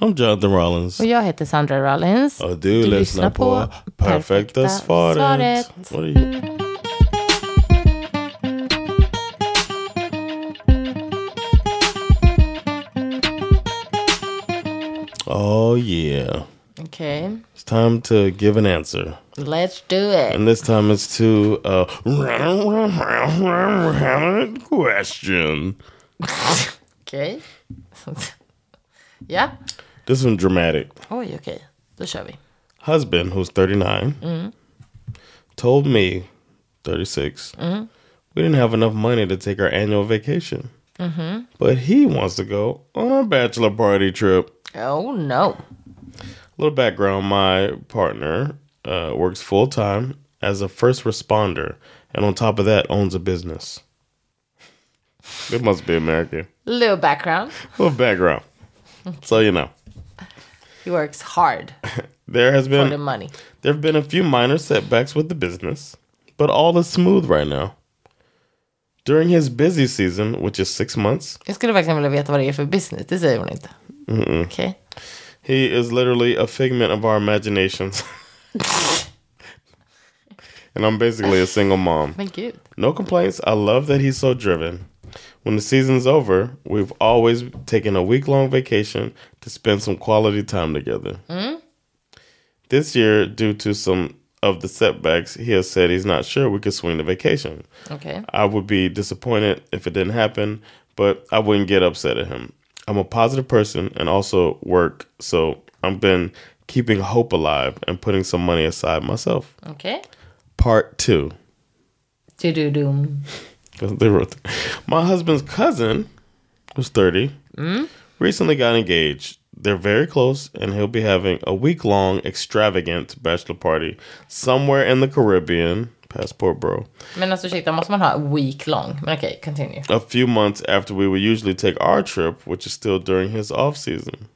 I'm Jonathan Rollins. Oh, Och jag heter Sandra Rollins. Och du, lyssnar på Perfekta svaret. svaret. What are you- Oh yeah. Okej, It's time to give an answer. let's do it. And this time it's to uh, a question. Okej. ja, This one dramatic. oj okej. Då kör vi. Husband, who's 39, told me, 36, we didn't have enough money to take our annual vacation. But he wants to go on a bachelor party trip. Oh no. little background my partner uh, works full time as a first responder, and on top of that, owns a business. It must be American. Little background. Little background. So, you know, He works hard there has for the been money. there have been a few minor setbacks with the business, but all is smooth right now. During his busy season, which is six months, Jag skulle verkligen vilja veta vad det är för business. Det säger hon inte. Okej. He is literally a figment of our imaginations. and I'm basically a single mom. Men gud. No complaints. I love that he's so driven. When the season's over, we've always taken a week long vacation to spend some quality time together. This year, due to some of the setbacks, he has said he's not sure we could swing the vacation. Okej. I would be disappointed if it didn't happen, but I wouldn't get upset at him. I'm a positive person and also work, so I've been keeping hope alive and putting some money aside myself. Okej. Part two. Du-du-dum. 'Cause They wrote My husband's cousin, who's 30, recently got engaged. They're very close, and he'll be having a week long extravagant bachelor party somewhere in the Caribbean. Passport, bro. Men alltså ursäkta, måste man ha week long? Men okej, continue. a few months after we would usually take our trip, which is still during his off season.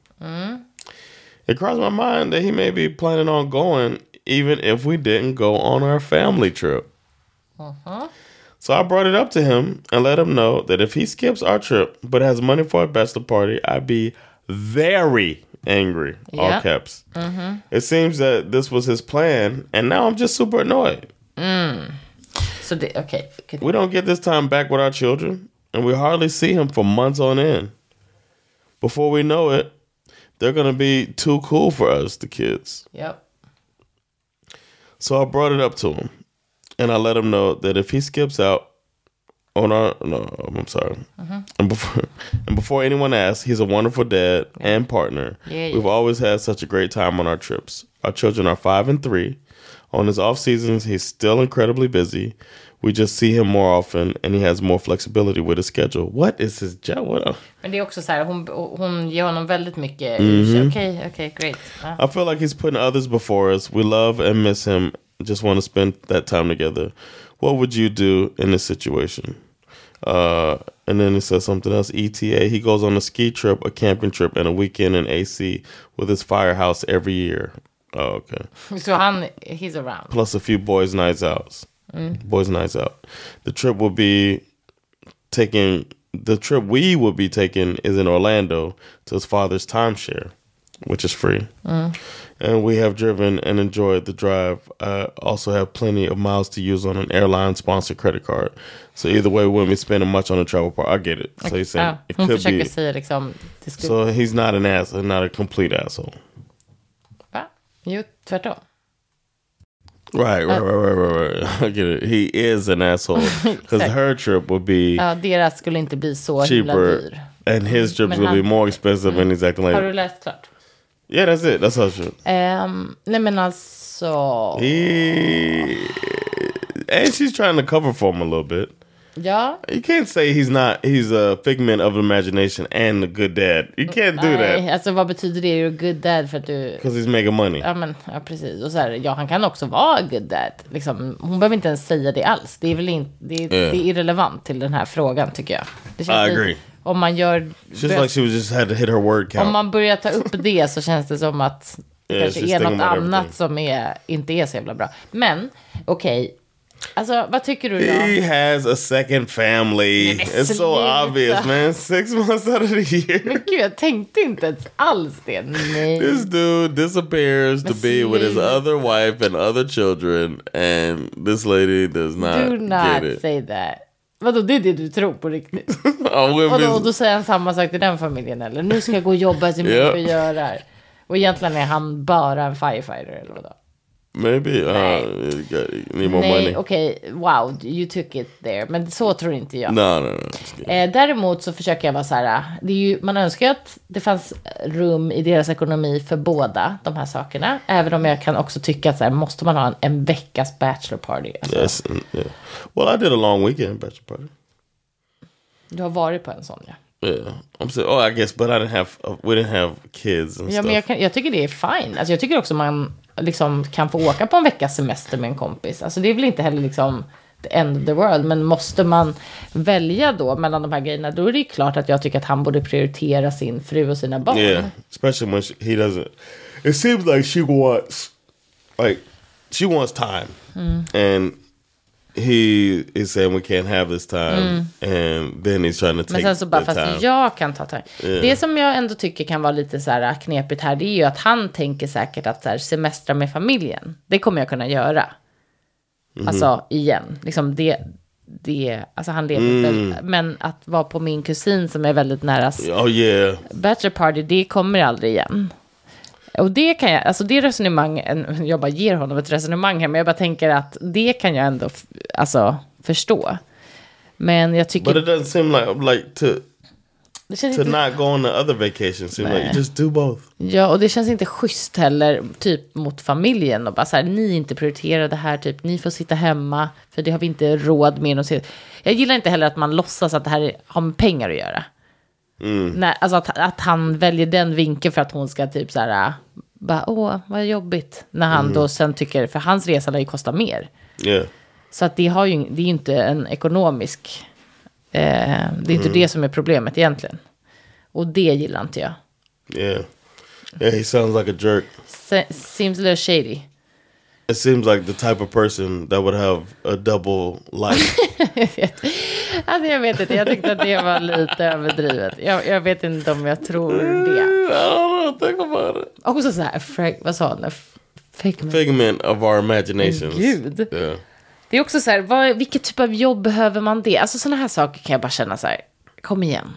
It crossed my mind that he may be planning on going even if we didn't go on our family trip. So I brought it up to him and let him know that if he skips our trip but has money for a bachelor party, I'd be very angry. Yeah. All caps. It seems that this was his plan, and now I'm just super annoyed. Så det, okej. continue. We don't get this time back with our children, and we hardly see him for months on end. Before we know it, they're going to be too cool for us, the kids. Ja. So I brought it up to him, and I let him know that if he skips out on our no, I'm sorry, and before and before anyone asks, he's a wonderful dad and partner. Yeah, We've yeah. always had such a great time on our trips. Our children are five and three. On his off seasons, he's still incredibly busy. We just see him more often, and he has more flexibility with his schedule. What is his job? What? a- Men det är också så här, hon, hon ger honom väldigt mycket Mhm. ursäkt. Okej, okej, great. Ja. I feel like he's putting others before us. We love and miss him. Just want to spend that time together. What would you do in this situation? Uh, and then he says something else. ETA. He goes on a ski trip, a camping trip, and a weekend in AC with his firehouse every year. Oh, okay. Så han, he's around. Plus a few boys' nights out. Boys' nights out. The trip will be taking. The trip we will be taking is in Orlando to his father's timeshare, which is free and we have driven and enjoyed the drive. I also have plenty of miles to use on an airline sponsored credit card. So either way, we wouldn't be spending much on a travel part. I get it. So he's saying Ja, it hon could försöker be. säga liksom, det skulle... So he's not an ass, not a complete asshole. Va? Jo, tvärtom. Right, right, right, right, right, right. I get it. He is an asshole because her trip would be Ja, deras skulle inte bli så himla cheaper, dyr. and his trips Men would be han- more expensive, and he's acting Har du like, läst klart? yeah, that's it. That's our trip. Ehm, nej men alltså, He and she's trying to cover for him a little bit. Ja. You can't say he's not he's a figment of imagination and a good dad. You can't do that Nej, alltså vad betyder det? You're a good dad för att du... because he's making money. Ja, men ja, precis. Och så här, ja, han kan också vara a good dad. Liksom, hon behöver inte ens säga det alls. Det är väl inte... Det, är- Yeah. det är irrelevant till den här frågan, tycker jag. Det I lite- agree. Om man gör... She's like she was just had to hit her word count. Om man börjar ta upp det så känns det som att det Yeah, she's kanske är thinking något about annat everything. som är, inte är så jävla bra. Men okej, alltså vad tycker du He då? has a second family. Nej, men It's so sluta. obvious, man. Six months out of the year. Men gud, jag tänkte inte ens alls det. Nej. This dude disappears to be with his Sluta. other wife and other children, and this lady does not, Do get not it. say that. Vadå, det är det du tror på riktigt? Oh, Och då, och women, då säger han samma sak till den familjen eller? Nu ska jag gå och jobba så mycket Ja. och göra. Och egentligen är han bara en firefighter eller vadå? maybe uh, you got- you need more money. Nej, okej, wow, you took it there. Men så tror inte jag. No, no, no. I'm just kidding. Eh, däremot så försöker jag vara så här, eh, det är ju, man önskar ju att det fanns rum i deras ekonomi för båda de här sakerna. Även om jag kan också tycka att så här, måste man ha en, en veckas bachelor party? Alltså, Yes, and- yeah. Well, I did a long weekend bachelor party. Du har varit på en sån ja. Yeah, I'm saying. Oh, I guess, but I didn't have. Uh, we didn't have kids and ja stuff. men jag, kan, jag tycker det är fine. Alltså, jag tycker också man liksom, kan få åka på en veckas semester med en kompis. Alltså, det är väl inte heller liksom the end of the world. Men måste man välja då mellan de här grejerna, då är det ju klart att jag tycker att han borde prioritera sin fru och sina barn. Yeah, especially when she, he doesn't. It seems like she wants, like, she wants time, and he is saying we can't have this time, and then he's trying to Men take sen så bara, the fast time. jag kan ta tag Det som jag ändå tycker kan vara lite så här knepigt här, det är ju att han tänker säkert att så här, semestra med familjen, det kommer jag kunna göra. Alltså igen, liksom det, det, alltså han lever väl, men att vara på min kusin som är väldigt nära oh yeah, bachelor party, det kommer aldrig igen. Och det kan jag, alltså det resonemang, en- jag bara ger honom ett resonemang här, men jag bara tänker att det kan jag ändå, f- alltså förstå. Men jag tycker, but it doesn't seem like like to det känns to inte not go on the other vacation. Seems like you just do both. Ja, och det känns inte schysst heller, typ mot familjen och bara så här, ni är inte prioriterar det här, typ ni får sitta hemma, för det har vi inte råd med. Och så. Jag gillar inte heller att man låtsas att det här är- har med pengar att göra. När, alltså att, att han väljer den vinkeln för att hon ska typ så här, äh, bara åh, vad jobbigt. När han då sen tycker, för hans resa lär ju kosta mer. Yeah, Så att det, har ju, det är ju inte en ekonomisk, eh, det är inte det som är problemet egentligen. Och det gillar inte jag. yeah, yeah. He sounds like a jerk. Se- Seems a little shady. It seems like the type of person that would have a double life. Alltså jag vet inte, jag tyckte att det var lite överdrivet. Jag, jag vet inte om jag tror det. I don't know. Think about it. Också så här, frag, vad sa han? F- Figment. Figment of our imaginations. Gud. Yeah. Det är också så här, vad, vilket typ av jobb behöver man det? Alltså sådana här saker kan jag bara känna så här, kom igen.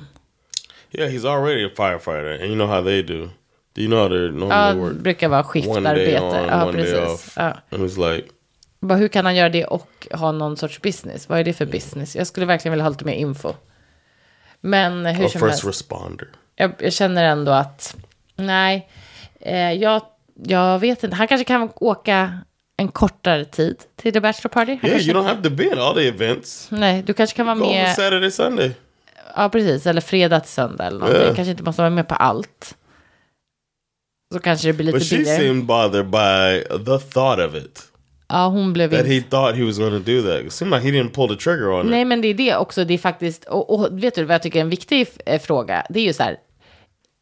Yeah, he's already a firefighter, and you know how they do. Do you know how they normally Ja, work? brukar vara One day on, skiftarbete. Ja, one day precis. off. Ja. And it's like, Bara, hur kan han göra det och ha någon sorts business? Vad är det Mm. för business? Jag skulle verkligen vilja ha lite mer info. Men hur a som first helst. responder. jag, jag känner ändå att, nej, eh, jag, jag vet inte. Han kanske kan åka en kortare tid till The Bachelor Party. Yeah, Han kanske, you don't have to be at all the events. nej, du kanske kan vara Go over med, Saturday, Sunday. ja precis, eller fredag till söndag eller någonting. Yeah. Kanske inte måste vara med på allt. Så kanske det blir But lite she billigare. seemed bothered by the thought of it. Ja, hon blev That inte... he thought he was going to do that. It seemed like he didn't pull the trigger on Nej, it. men det är det också. Det är faktiskt, och, och vet du vad jag tycker är en viktig eh, fråga? Det är ju så här,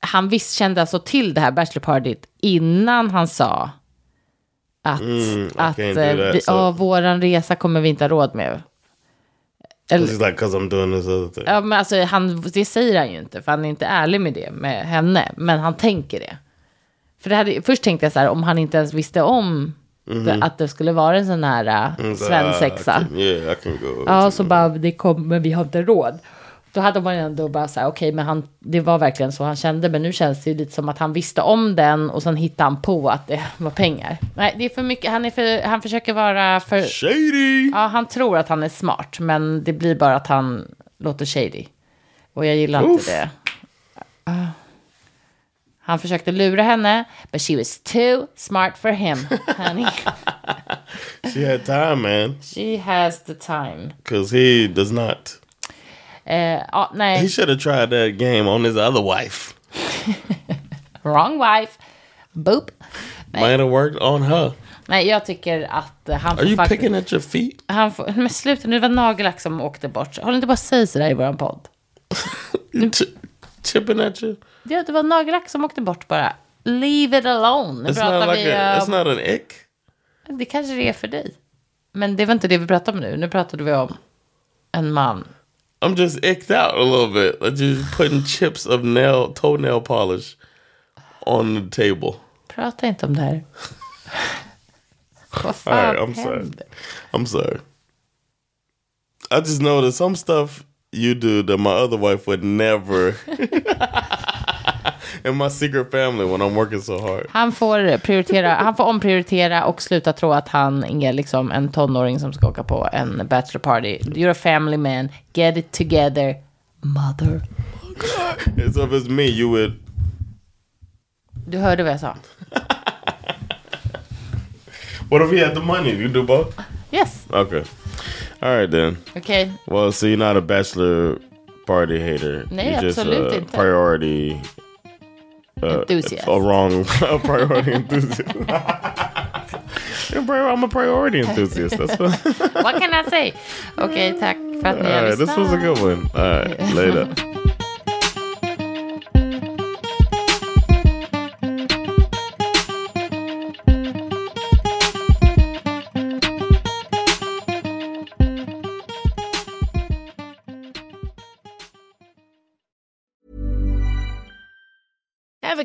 han visst kände alltså till det här bachelorpartyt innan han sa att, att can't do eh, that, vi, so- ja, våran resa kommer vi inte ha råd med. 'Cause He's like, because I'm doing this other thing. Ja, men alltså, han, det säger han ju inte, för han är inte ärlig med det med henne, men han tänker det. För det hade, först tänkte jag så här, om han inte ens visste om det, att det skulle vara en sån här eh, He's like, "Ah, I svensexa. can- yeah, I can go. Ja, så bara det kom, men vi har inte råd. Då hade man ändå bara så här, okej, men han, det var verkligen så han kände, men nu känns det ju lite som att han visste om den och sen hittade han på att det var pengar. Nej, det är för mycket, han, är för, han försöker vara för, Shady. ja, han tror att han är smart, men det blir bara att han låter shady. Och jag gillar Uff. inte det. Ah. Han försökte lura henne, but she was too smart for him, honey. She had time, man. She has the time. Because he does not. Eh, ja, He nej, should have tried that game on his other wife. wrong wife. Boop. Might have worked on her. Nej, jag tycker att eh, han Are får you faktiskt... picking at your feet? Han får... Men sluta nu, det var nagellack som åkte bort. Håll inte bara och säg sådär i våran podd. You ch- chipping at you? Ja, det var nagellack som åkte bort bara. Leave it alone. Nu It's pratar not like vi a, it's om... not an ick. Det kanske det är för dig. Men det var inte det vi pratade om nu. Nu pratade vi om en man. I'm just icked out a little bit. Like you putting chips of nail toenail polish on the table. Prata inte om det här. All Vad right, fan I'm sorry. händer? I'm sorry. I just know that some stuff you do that my other wife would never. In my secret family, when I'm working so hard, Han får, prioritera, han får omprioritera och sluta tro att han är liksom en tonåring som ska åka på en bachelor party. You're a family man, get it together, mother. And so if it's me, you would Du hörde vad jag sa? What if he had the money? You do both? Yes, Okay. All right then. okej. Well, so you're not a bachelor party hater. Nej, you're absolut a inte. priority uh, Enthusiast. A wrong a priority enthusiast. You're a prior- I'm a priority enthusiast. That's what. What can I say? Okej, tack för att ni All har right, lyssnat. this was a good one. All right, later. Ever